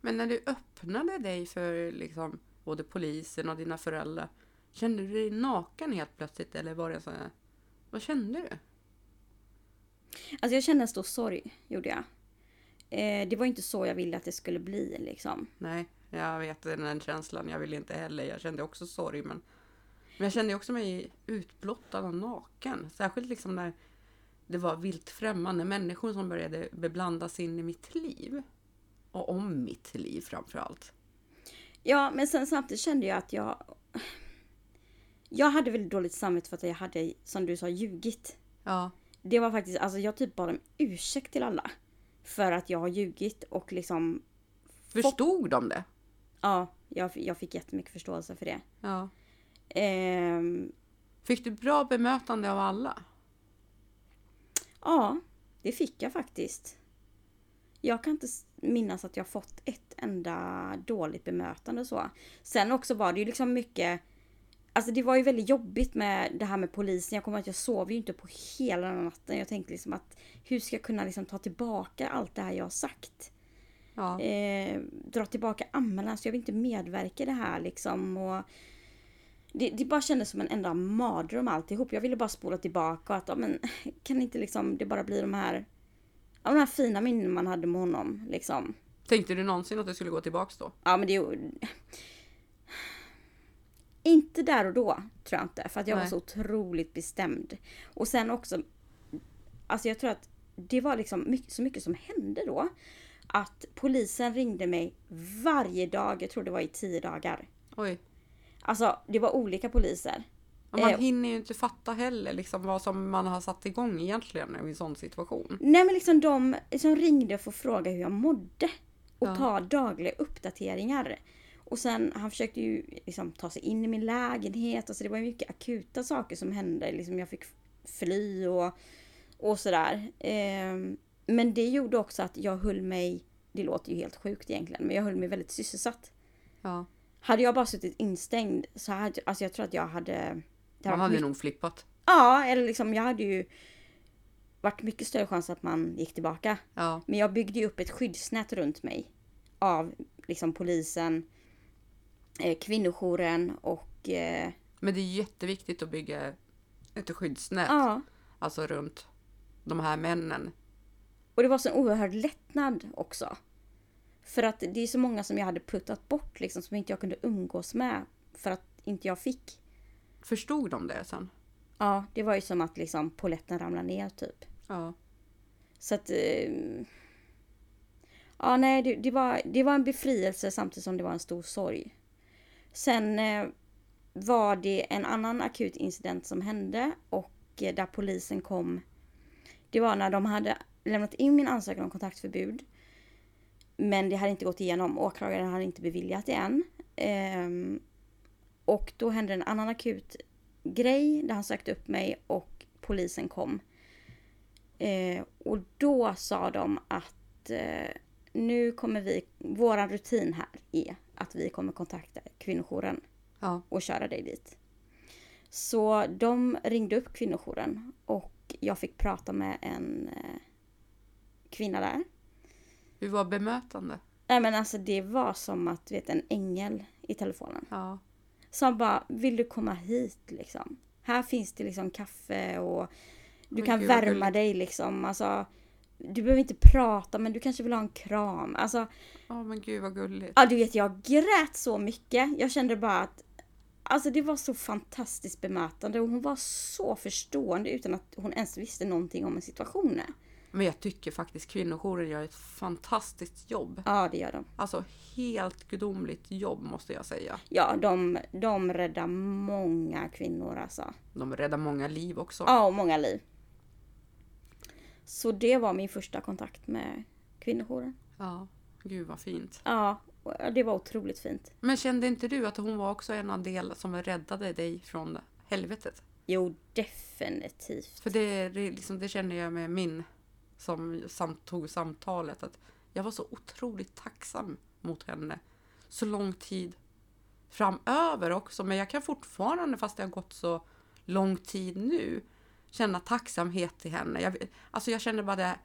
Men när du öppnade dig för liksom, både polisen och dina föräldrar. Kände du dig naken helt plötsligt? Eller var det så här? Vad kände du? alltså jag kände en stor sorg, gjorde jag. Eh, det var ju inte så jag ville att det skulle bli liksom. Nej. Jag vet den känslan, jag ville inte heller. Jag kände också sorg men, men jag kände också mig utblottad och naken. Särskilt liksom när det var vilt främmande människor som började beblandas in i mitt liv. Och om mitt liv framförallt. Ja, men sen samtidigt kände jag att jag... Jag hade väl dåligt samvete för att jag hade, som du sa, ljugit. Ja, Det var faktiskt, alltså jag typ bad om ursäkt till alla. För att jag har ljugit och liksom, förstod de det? ja, jag, jag fick jättemycket förståelse för det. Ja. Ehm, Fick du bra bemötande av alla? ja, det fick jag faktiskt. Jag kan inte s- minnas att jag fått ett enda dåligt bemötande och så. Sen också var det ju liksom mycket, alltså det var ju väldigt jobbigt med det här med polisen. Jag kommer ihåg att jag sov ju inte på hela den här natten. Jag tänkte liksom att hur ska jag kunna liksom ta tillbaka allt det här jag har sagt? Ja. eh, dra tillbaka anmälan så jag vill inte medverka i det här liksom. Och det, det bara kändes som en enda mardröm alltihop. Jag ville bara spola tillbaka och att, ja, men, kan inte liksom det bara bli de här, ja, de här fina minnen man hade med honom liksom. Tänkte du någonsin att du skulle gå tillbaks då? Ja men det är ju... Inte där och då tror jag inte. För att jag var Nej. så otroligt bestämd. Och sen också... Alltså jag tror att det var liksom mycket, så mycket som hände då. Att polisen ringde mig varje dag. Jag tror det var i tio dagar. Oj. Alltså det var olika poliser. Ja, Man Eh. hinner ju inte fatta heller liksom vad som man har satt igång egentligen i en sån situation. Nej men liksom de som ringde för att fråga hur jag mådde. Och Ja. ta dagliga uppdateringar. Och sen han försökte ju liksom ta sig in i min lägenhet. Alltså det var ju mycket akuta saker som hände. Liksom jag fick fly och, och sådär. Ehm, men det gjorde också att jag höll mig, det låter ju helt sjukt egentligen, men jag höll mig väldigt sysselsatt. Ja. Hade jag bara suttit instängd så hade, alltså jag tror att jag hade... det Man varit hade nog flippat. Ja, eller liksom jag hade ju varit mycket större chans att man gick tillbaka. Ja. Men jag byggde ju upp ett skyddsnät runt mig. Av liksom polisen, eh, kvinnojouren och... Eh, Men det är jätteviktigt att bygga ett skyddsnät. ja. Alltså runt de här männen. Och det var så en oerhörd lättnad också. För att det är så många som jag hade puttat bort liksom som inte jag kunde umgås med. För att inte jag fick. Förstod de det sen? Ja, det var ju som att liksom poletten ramlade ner typ. Ja. Så att... Eh, ja, nej, det, det, var, det var en befrielse samtidigt som det var en stor sorg. Sen eh, var det en annan akut incident som hände och eh, där polisen kom. Det var när de hade lämnat in min ansökan om kontaktförbud. Men det hade inte gått igenom. Åklagaren hade inte beviljat det än. Ehm, och då hände en annan akut grej där han sökte upp mig och polisen kom. Eh, och då sa de att eh, nu kommer vi, våran rutin här är att vi kommer kontakta kvinnojouren Ja. och köra dig dit. Så de ringde upp kvinnojouren och jag fick prata med en eh, kvinna där. Hur var bemötande? Nej men alltså det var som att, du vet en ängel i telefonen. Ja. Som bara, vill du komma hit liksom? Här finns det liksom kaffe och du Oj, kan gud, vad värma gulligt. dig liksom. Alltså, du behöver inte prata men du kanske vill ha en kram. Alltså, Ja men gud vad gulligt. ja du vet jag grät så mycket. Jag kände bara att Alltså det var så fantastiskt bemötande och hon var så förstående utan att hon ens visste någonting om situationen. Men jag tycker faktiskt kvinnojouren gör ett fantastiskt jobb. Ja det gör de. Alltså helt gudomligt jobb måste jag säga. Ja de, de räddar många kvinnor alltså. De räddar många liv också. Ja och många liv. Så det var min första kontakt med kvinnojouren. Ja. Gud vad fint. Ja, och det var otroligt fint. Men kände inte du att hon var också en av del som räddade dig från helvetet? Jo, definitivt. För det, det, är liksom, det kände jag med min som samt, tog samtalet. Att jag var så otroligt tacksam mot henne så lång tid framöver också. Men jag kan fortfarande, fast det har gått så lång tid nu, känna tacksamhet till henne. Jag, alltså jag känner bara det, här,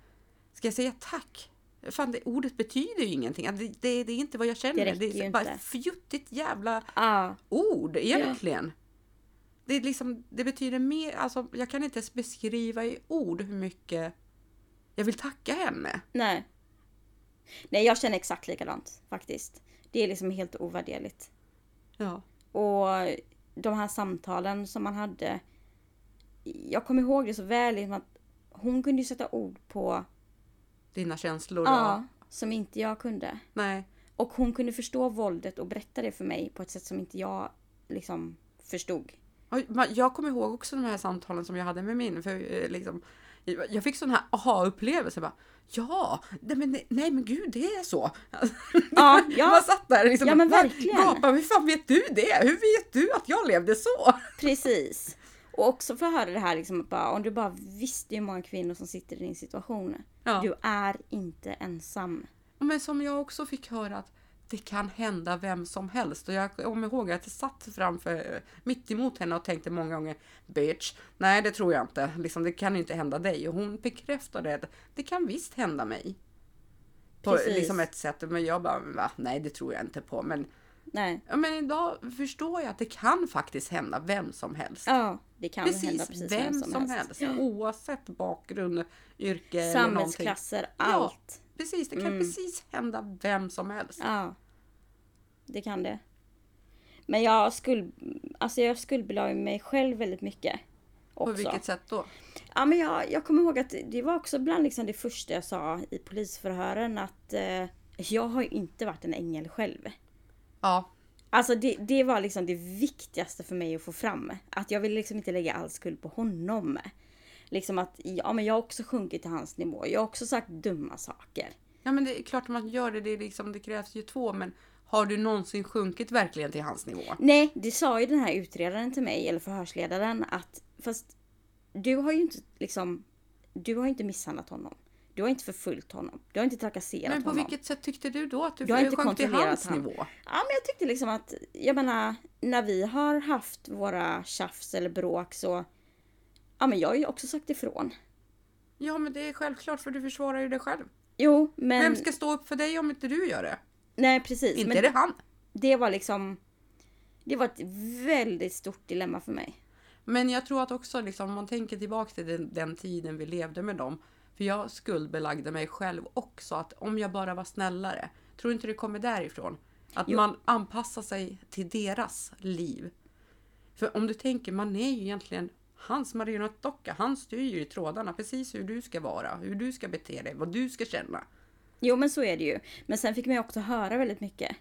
ska jag säga tack? Fan, det, ordet betyder ju ingenting. Det, det, det är inte vad jag känner. räcker det är ju bara inte. ett fjuttigt jävla Ja, ord egentligen. Det, är liksom, det betyder mer, alltså, jag kan inte ens beskriva i ord hur mycket jag vill tacka henne. nej. Nej, jag känner exakt likadant faktiskt. Det är liksom helt ovärderligt. Ja. Och de här samtalen som man hade. Jag kommer ihåg det så väl, liksom att hon kunde ju sätta ord på Dina känslor ja, och... som inte jag kunde. Nej. Och hon kunde förstå våldet och berätta det för mig på ett sätt som inte jag liksom förstod. Oj, men Jag kommer ihåg också de här samtalen som jag hade med min. För eh, liksom, jag fick sån här aha-upplevelse. Bara, ja, nej men, nej men gud det är så. Ja, ja. Man satt där liksom, Ja, men man verkligen. gapade, hur fan vet du det? Hur vet du att jag levde så? Precis. Och också få höra det här liksom att bara, om du bara visste hur många kvinnor som sitter i din situation. Ja. Du är inte ensam. Men som jag också fick höra att det kan hända vem som helst. Och jag kommer ihåg att jag satt framför, mitt emot henne och tänkte många gånger Bitch, nej det tror jag inte. Liksom, det kan inte hända dig. Och hon bekräftade att det kan visst hända mig. På Precis. liksom ett sätt. Men jag bara, va? Nej det tror jag inte på. Men, Nej. ja, men idag förstår jag att det kan faktiskt hända vem som helst. Ja, det kan precis, hända precis vem, som, helst. Oavsett bakgrund, yrke eller någonting. Samhällsklasser, Ja. allt. Precis, det kan Mm. precis hända vem som helst. Ja. Det kan det. Men jag skuld, alltså jag skuldbelade mig själv väldigt mycket. Också. På vilket sätt då? Ja, men jag, jag kommer ihåg att det var också bland liksom det första jag sa i polisförhören att eh, jag har ju inte varit en ängel själv. Ja, Alltså det, det var liksom det viktigaste för mig att få fram. Att jag ville liksom inte lägga all skuld på honom. Liksom att ja, men jag har också sjunkit till hans nivå. Jag har också sagt dumma saker. ja men det är klart att man gör det. Det, är liksom, det krävs ju två. Men har du någonsin sjunkit verkligen till hans nivå? Nej, det sa ju den här utredaren till mig, eller förhörsledaren, att fast du har ju inte liksom, du har ju inte misshandlat honom. Du har inte förföljt honom. Du har inte trakasserat Men på honom. vilket sätt tyckte du då att du Jag har inte sjönk till kontrollerat hans han. nivå? Ja men jag tyckte liksom att, jag menar, när vi har haft våra tjafs eller bråk så, ja men jag har ju också sagt ifrån. Ja, men det är självklart för du försvarar ju dig själv. Jo men, Vem ska stå upp för dig om inte du gör det? nej precis. Inte men är det han. det var liksom, det var ett väldigt stort dilemma för mig. Men jag tror att också liksom, om man tänker tillbaka till den, den tiden vi levde med dem. För jag skuldbelagde mig själv också att om jag bara var snällare. Tror inte det kommer därifrån? Att man anpassar sig till deras liv. För om du tänker, man är ju egentligen hans marionettdocka. Han styr ju trådarna precis hur du ska vara, hur du ska bete dig, vad du ska känna. Jo men så är det ju. Men sen fick man ju också höra väldigt mycket.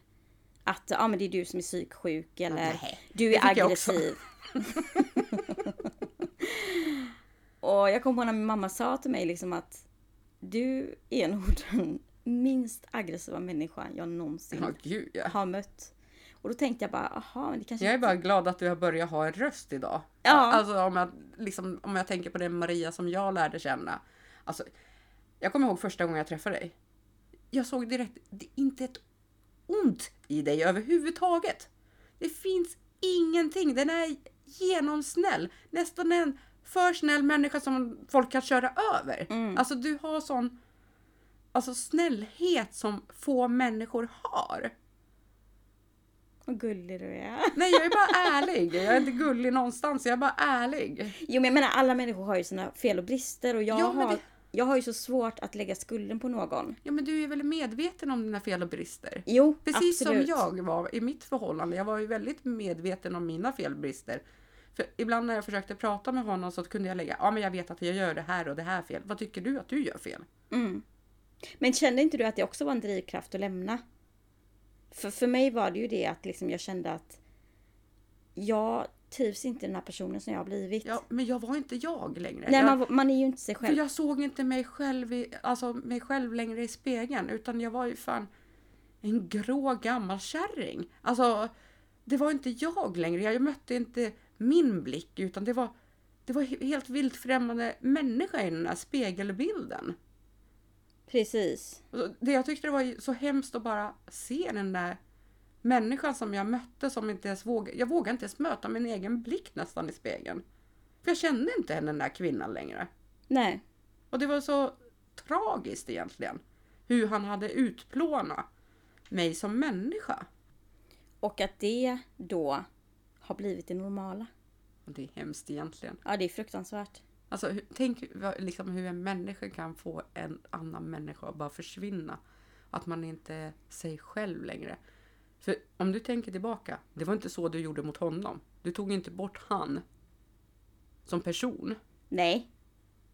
Att ja men det är du som är psyksjuk eller nej. du Det är fick jag också. aggressiv. och jag kommer ihåg när min mamma sa till mig liksom att du är nog den minst aggressiva människan jag någonsin Ja, gud ja. har mött. Och då tänkte jag bara, jaha men det kanske Jag är bara glad att du har börjat ha en röst idag. Ja. Alltså om jag, liksom, om jag tänker på den Maria som jag lärde känna. Alltså, jag kommer ihåg första gången jag träffade dig. Jag såg direkt, det är inte ett ont i dig överhuvudtaget. Det finns ingenting. Den är genomsnäll. Nästan en för snäll människa som folk kan köra över. Mm. Alltså du har sån alltså, snällhet som få människor har. Vad gullig du är. Nej, jag är bara ärlig. Jag är inte gullig någonstans. Jag är bara ärlig. Jo men jag menar alla människor har ju sina fel och brister och jag, Ja, men har, det- jag har ju så svårt att lägga skulden på någon. Ja, men du är väl medveten om dina fel och brister? Jo, Precis absolut. som jag var i mitt förhållande. Jag var ju väldigt medveten om mina fel och brister. För ibland när jag försökte prata med honom så kunde jag lägga, ja men jag vet att jag gör det här och det här fel. Vad tycker du att du gör fel? Mm. Men kände inte du att det också var en drivkraft att lämna? För, för mig var det ju det att liksom jag kände att jag trivs inte i den här personen som jag har blivit. Ja, men jag var inte jag längre. Nej, jag, man, man är ju inte sig För själv. jag såg inte mig själv, i, alltså mig själv längre i spegeln utan jag var ju fan en grå gammal kärring. Alltså, det var inte jag längre. Jag mötte inte min blick utan det var, det var he- helt vilt främmande människa i den här spegelbilden. Precis. Och så- Det jag tyckte det var ju så hemskt att bara se den där människan som jag mötte som inte ens vågade, jag vågade inte ens möta min egen blick nästan i spegeln. För jag kände inte henne, den där kvinnan längre. Nej. Och det var så tragiskt egentligen. Hur han hade utplånat mig som människa. Och att det då har blivit det normala. Och det är hemskt egentligen. Ja, det är fruktansvärt. Alltså, hur- tänk vad- liksom, hur en människa kan få en annan människa att bara försvinna. Och Att man inte är sig själv längre. För om du tänker tillbaka, det var inte så du gjorde mot honom. Du tog inte bort han som person. Nej.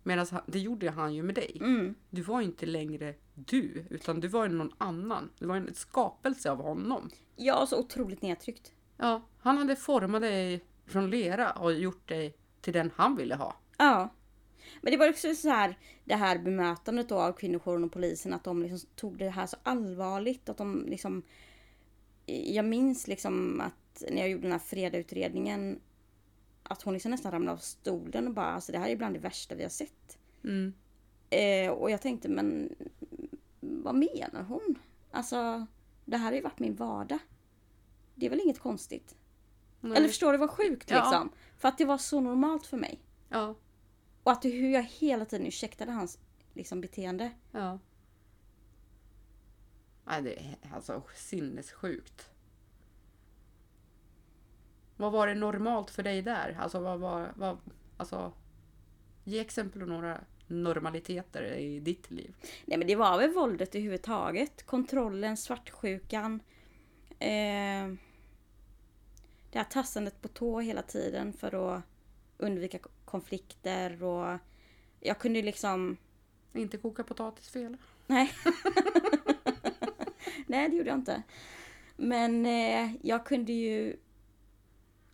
Medan han- det gjorde han ju med dig. Mm. Du var inte längre du, utan du var ju någon annan. Du var en skapelse av honom. Ja, så otroligt nedtryckt. Ja, han hade format dig från lera och gjort dig till den han ville ha. Ja. Men det var också så här, det här bemötandet då av kvinnojouren och polisen, att de liksom tog det här så allvarligt. Att de liksom... Jag minns liksom att när jag gjorde den här fredagsutredningen, att hon liksom nästan ramlade av stolen och bara, alltså det här är bland det värsta vi har sett. Mm. Eh, och jag tänkte, men vad menar hon? Alltså, det här har ju varit min vardag. Det är väl inget konstigt? Nej. Eller förstår du vad sjukt Ja. liksom? För att det var så normalt för mig. Ja, Och att hur jag hela tiden ursäktade hans liksom, beteende. ja. Nej, det är alltså sinnessjukt. Vad var det normalt för dig där? Alltså, vad var... Vad, alltså, ge exempel på några normaliteter i ditt liv. Nej men det var väl våldet överhuvudtaget. Kontrollen, svartsjukan. Eh, det här tassandet på tå hela tiden för att undvika k- konflikter och jag kunde ju liksom Inte koka potatis fel. Nej. Nej, det gjorde jag inte. Men eh, jag kunde ju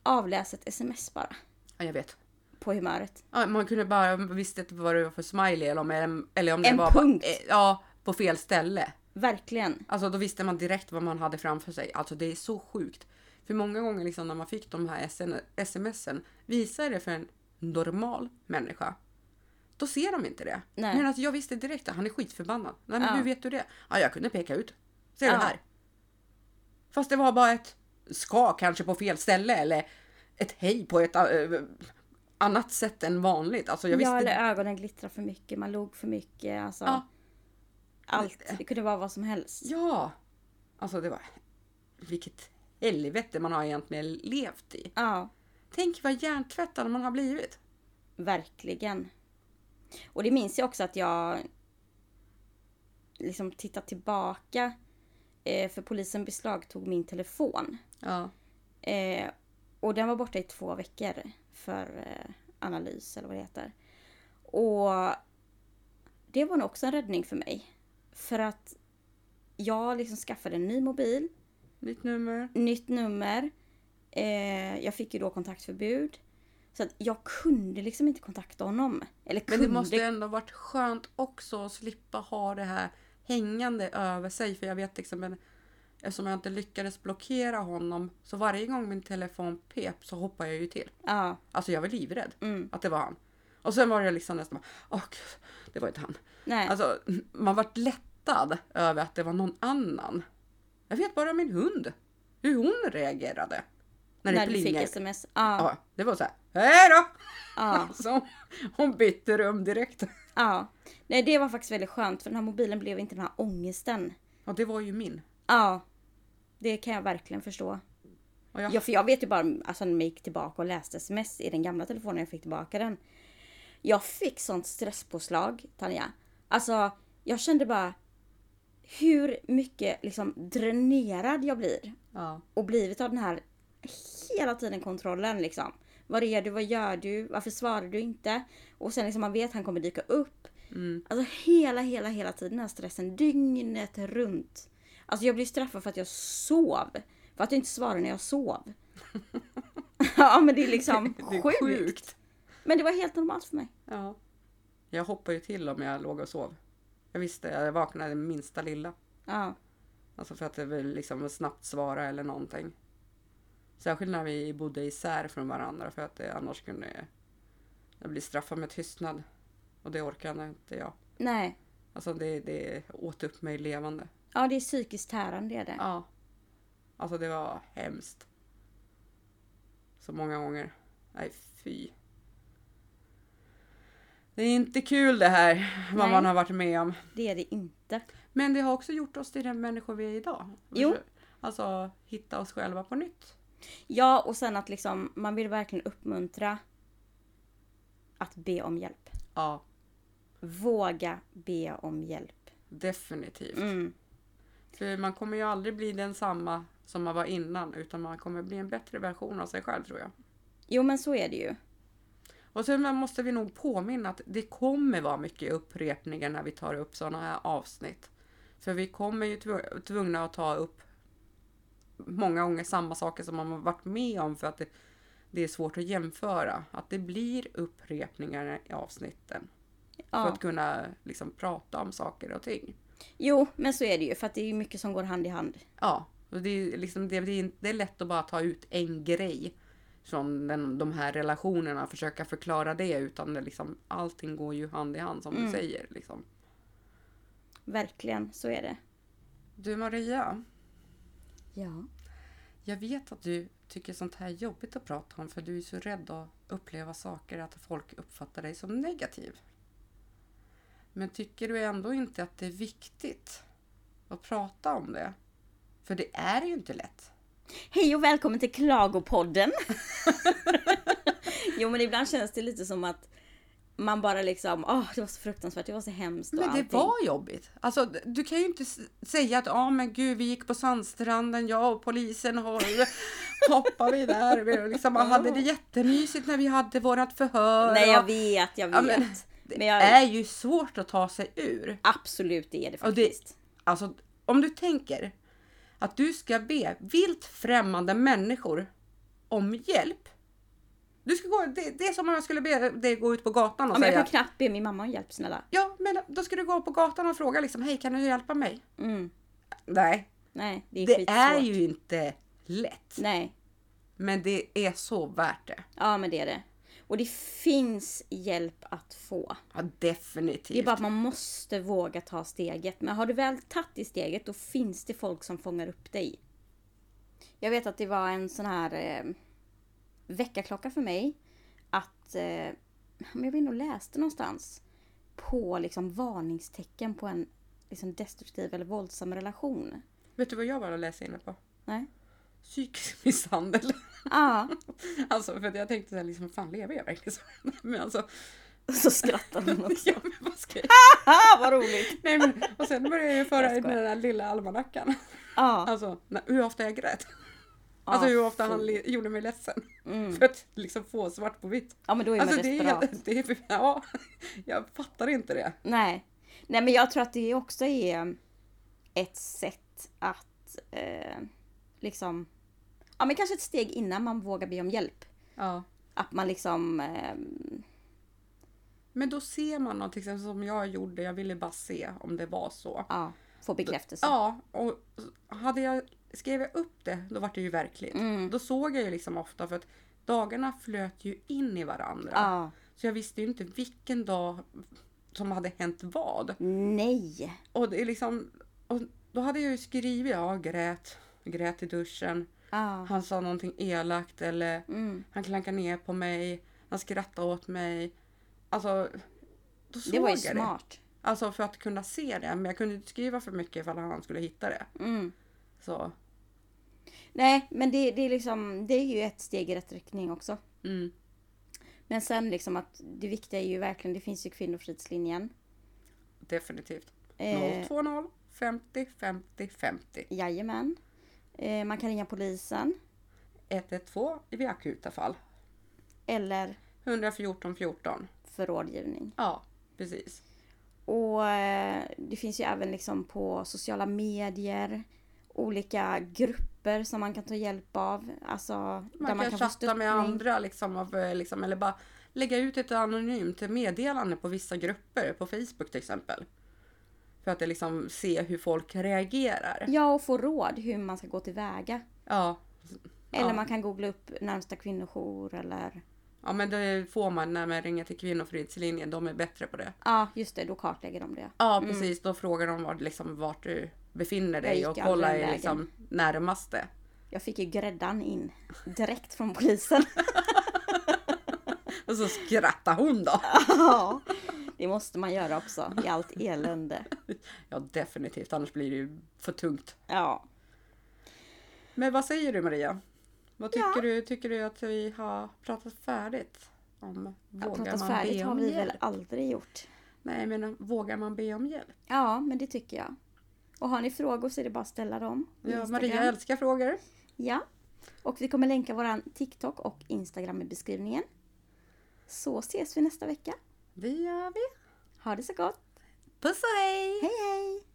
avläsa ett sms bara Ja, jag vet. på humöret. Ja, man kunde bara visste inte vad det var för smiley eller om, eller om det En var punkt. Bara, eh, ja, på fel ställe. Verkligen. Alltså då visste man direkt vad man hade framför sig. Alltså det är så sjukt. För många gånger liksom när man fick de här SN smsen, visar det för en normal människa, då ser de inte det. Nej. Men alltså, jag visste direkt att han är skitförbannad. Nej men Ja. hur vet du det? Ja, jag kunde peka ut. Ser Ja. du här? Fast det var bara ett ska kanske på fel ställe eller ett hej på ett eh, annat sätt än vanligt. Alltså jag visste Ja, eller ögonen glittrade för mycket, man log för mycket. Alltså, Ja. Allt. Det kunde vara vad som helst. Ja! Alltså det var... Vilket helvete man har egentligen levt i. Ja, Tänk vad hjärntvättad man har blivit. verkligen. Och det minns jag också att jag liksom tittat tillbaka. Eh, för polisen beslagtog min telefon. Ja. Eh, och den var borta i två veckor för eh, analys eller vad det heter. Och det var nog också en räddning för mig. För att jag liksom skaffade en ny mobil, Nytt nummer. nytt nummer. Eh, jag fick ju då kontaktförbud. Så att jag kunde liksom inte kontakta honom. Eller Men kunde. det måste ändå varit skönt också att slippa ha det här hängande över sig. För jag vet liksom, en- eftersom jag inte lyckades blockera honom så varje gång min telefon pep så hoppade jag ju till. Ja, Alltså jag var livrädd Mm. att det var han. Och sen var jag liksom nästan bara, åh gud, det var inte han. nej. Alltså, man vart lättad över att det var någon annan. Jag vet bara min hund. Hur hon reagerade. När det när du fick plingade. sms. ja, Ja, det var så här. Hej då! ja. Alltså, hon bytte rum direkt. ja. Nej, det var faktiskt väldigt skönt för den här mobilen blev inte den här ångesten. Ja, det var ju min. Ja, det kan jag verkligen förstå. Och Ja. jag, för jag vet ju bara alltså, när jag gick tillbaka och läste sms i den gamla telefonen jag fick tillbaka den. Jag fick sånt stresspåslag, Tanja. Alltså, jag kände bara hur mycket liksom dränerad jag blir ja. och blivit av den här hela tiden kontrollen liksom. Vad är du? Vad gör du? Varför svarar du inte? Och sen liksom man vet att han kommer dyka upp. Mm. Alltså hela, hela, hela tiden den här stressen dygnet runt. Alltså jag blev straffad för att jag sov. För att jag inte svarade när jag sov. ja men det är liksom Det är sjukt. sjukt. Men det var helt normalt för mig. ja. Jag hoppade ju till om jag låg och sov. Jag visste, jag vaknade minsta lilla. Ja. Alltså för att det vill liksom snabbt svara eller någonting. Särskilt när vi bodde isär från varandra för att det annars kunde jag bli straffad med tystnad. Och det orkade inte jag. Nej. Alltså det, det åt upp mig levande. Ja det är psykiskt tärande är det. Ja. Alltså det var hemskt. Så många gånger. Nej fy. Det är inte kul det här, vad Nej. man har varit med om. Det är det inte. Men det har också gjort oss till den människor vi är idag. Jo. Alltså hitta oss själva på nytt. Ja och sen att liksom man vill verkligen uppmuntra att be om hjälp. Ja, Våga be om hjälp. definitivt. Mm. att eh, man kommer ju aldrig bli densamma som man var innan utan man kommer bli en bättre version av sig själv tror jag. Jo men så är det ju. Och sen måste vi nog påminna att det kommer vara mycket upprepningar när vi tar upp sådana här avsnitt. För vi kommer ju tv- tvungna att ta upp många gånger samma saker som man har varit med om för att det, det är svårt att jämföra. Att det blir upprepningar i avsnitten för Ja. att kunna liksom, prata om saker och ting. Jo men så är det ju för att det är ju mycket som går hand i hand. Ja, och det, är liksom, det, det, är, inte- det är lätt att bara ta ut en grej från den, de här relationerna och försöka förklara det utan det liksom, allting går ju hand i hand som du säger. Liksom. Verkligen, så är det. Du Maria, Ja. jag vet att du tycker sånt här är jobbigt att prata om för du är så rädd att uppleva saker, att folk uppfattar dig som negativ. Men tycker du ändå inte att det är viktigt att prata om det? För det är ju inte lätt. Hej och välkommen till Klagopodden! jo men ibland känns det lite som att man bara liksom, åh det var så fruktansvärt, det var så hemskt och Men det allting. var jobbigt. Alltså, d- du kan ju inte s- säga att ja men gud vi gick på sandstranden, jag och polisen har hoppade vi där. Vi liksom, hade det jättemysigt när vi hade vårat förhör. Nej jag och- vet, jag vet. Ja, men men, det jag, är ju svårt att ta sig ur. absolut det är det Och det- faktiskt. Alltså om du tänker att du ska be vilt främmande människor om hjälp. Du ska gå, det, det är som om jag skulle be dig gå ut på gatan och ja, men jag säga kan knappt be min mamma om hjälp snälla. Ja, men då ska du gå på gatan och fråga liksom, hej kan du hjälpa mig? Mm. Nej, Nej, det är Det skitsvårt. är ju inte lätt, Nej, men det är så värt det. ja men det är det. Och det finns hjälp att få. Ja, Det är definitivt. bara att man måste våga ta steget. Men har du väl tagit i steget då finns det folk som fångar upp dig. Jag vet att det var en sån här eh, väckarklocka för mig. Att, eh, men jag vet inte, jag läste någonstans på liksom varningstecken på en liksom destruktiv eller våldsam relation. Vet du vad jag var och läste inne på? Nej? Psykisk misshandel. Ja, Alltså, för att jag tänkte så här, liksom, fan lever jag verkligen så? Men alltså, och så skrattar hon också. ja, men vad ska jag? Ah, vad roligt! Nej, men, och sen började jag ju föra Jag in skojar. den där lilla almanackan. Ja, Alltså, när, hur ofta jag grät. Alltså Ah, hur ofta fy. han li- gjorde mig ledsen. Mm. För att liksom få svart på vitt. ja men då är man Alltså det desperat. är, det är, ja, jag fattar inte det. Nej. Nej men jag tror att det också är mm, ett sätt att eh, liksom, ja men kanske ett steg innan man vågar be om hjälp. Ja. Att man liksom, eh, Men då ser man något, till exempel som jag gjorde, jag ville bara se om det var så. ja, får bekräftelse. Ja, och hade jag, skrev jag upp det, då var det ju verkligt. Mm. Då såg jag ju liksom ofta för att dagarna flöt ju in i varandra. Ja. Så jag visste ju inte vilken dag som hade hänt vad. Nej. Och det är liksom, och då hade jag ju skrivit, ja grät, grät i duschen, Ja. han sa någonting elakt eller Mm. han klankade ner på mig, han skrattade åt mig. Alltså, då såg Det var ju jag det. smart. Alltså för att kunna se det, men jag kunde inte skriva för mycket ifall han skulle hitta det. Mm. Så, Nej men det, det är liksom, det är ju ett steg i rätt riktning också. mm. Men sen liksom att det viktiga är ju verkligen, det finns ju Kvinnofridslinjen. Definitivt. Eh, 020 50 50 50. Jajamän. Eh, man kan ringa polisen. 112 i akuta fall. Eller 114 14. för rådgivning. Ja, precis. Och eh, det finns ju även liksom på sociala medier olika grupper som man kan ta hjälp av. Alltså Man kan, få chatta med stöttning. andra liksom, av, eh, liksom, eller bara lägga ut ett anonymt meddelande på vissa grupper, på Facebook till exempel. För att det, liksom, se hur folk reagerar. Ja, och få råd hur man ska gå tillväga. Ja, Eller Ja. man kan googla upp närmsta kvinnojour eller... ja men det får man när man ringer till Kvinnofridslinjen, de är bättre på det. Ja, just det, då kartlägger de det. Ja precis, då frågar de var, liksom, vart du befinner dig Mm. gick och aldrig kollar den i liksom, närmaste. Jag fick ju gräddan in direkt från polisen. Och så skrattar hon då! ja, det måste man göra också i allt elände. Ja definitivt, annars blir det ju för tungt. Ja. Men vad säger du Maria? Vad tycker, Ja. du, tycker du att vi har pratat färdigt? Om vågar Pratat man färdigt be har om vi hjälp? väl aldrig gjort. Nej men vågar man be om hjälp? Ja, men det tycker jag. Och har ni frågor så är det bara att ställa dem. på Ja, Instagram. Maria älskar frågor. Ja. Och vi kommer länka våran TikTok och Instagram i beskrivningen. Så ses vi nästa vecka. Det gör vi. Ha det så gott. Puss och hej! Hej hej!